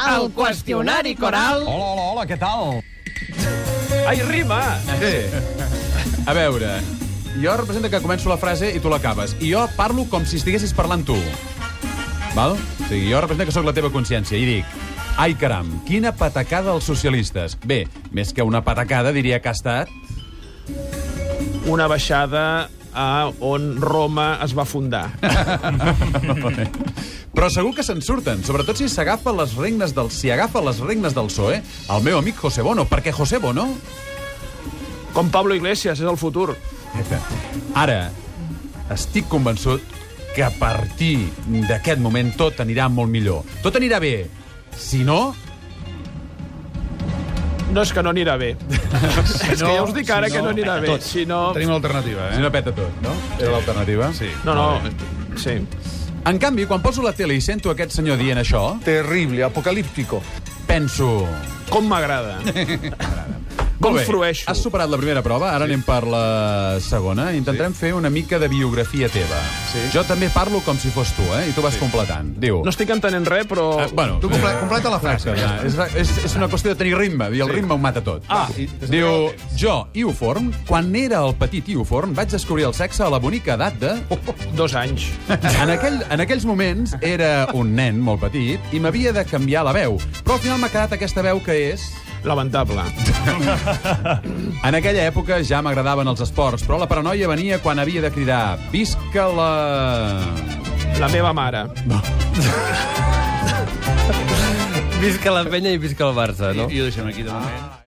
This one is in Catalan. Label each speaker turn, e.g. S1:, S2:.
S1: el qüestionari coral...
S2: Hola, hola, hola, què tal?
S3: Ai, rima!
S4: Sí. A veure, jo representa que començo la frase i tu l'acabes. I jo parlo com si estiguessis parlant tu. Val? O sigui, jo representa que sóc la teva consciència i dic... Ai, caram, quina patacada als socialistes. Bé, més que una patacada, diria que ha estat...
S3: Una baixada a on Roma es va fundar.
S4: Però segur que se'n surten, sobretot si s'agafa les regnes del... Si agafa les regnes del PSOE, el meu amic José Bono, perquè José Bono...
S3: Com Pablo Iglesias, és el futur.
S4: Ara, estic convençut que a partir d'aquest moment tot anirà molt millor. Tot anirà bé. Si no,
S3: No és que no anirà bé. és que ja us dic ara
S2: si
S3: que
S2: no,
S3: no anirà bé.
S2: tot.
S3: Si no...
S2: Tenim l'alternativa, eh?
S4: si no peta tot, no? Era l'alternativa.
S2: Sí.
S3: No, no, sí.
S4: En canvi, quan poso la tele i sento aquest senyor dient això,
S5: Terrible, apocalíptico.
S4: penso...
S3: Com m'agrada. Com
S4: Molt bé,
S3: frueixo.
S4: Has superat la primera prova, ara sí. anem per la segona. Intentarem sí. fer una mica de biografia teva. Sí. Jo també parlo com si fos tu, eh? I tu vas sí. completant. Diu...
S3: No estic entenent res, però...
S4: Eh, bueno, eh,
S5: Tu comple completa la frase. eh?
S4: Ja, és, és, és una qüestió de tenir ritme, i el ritme ho mata tot. Ah, Diu, jo, Iuforn, quan era el petit Iuforn, vaig descobrir el sexe a la bonica edat de...
S3: Dos anys.
S4: En, aquell, en aquells moments era un nen molt petit i m'havia de canviar la veu. Però al final m'ha quedat aquesta veu que és...
S3: Lamentable.
S4: En aquella època ja m'agradaven els esports, però la paranoia venia quan havia de cridar «Visca la...»
S3: La meva mare.
S1: Visca la penya i visca el Barça, no?
S2: I ho deixem aquí, de moment.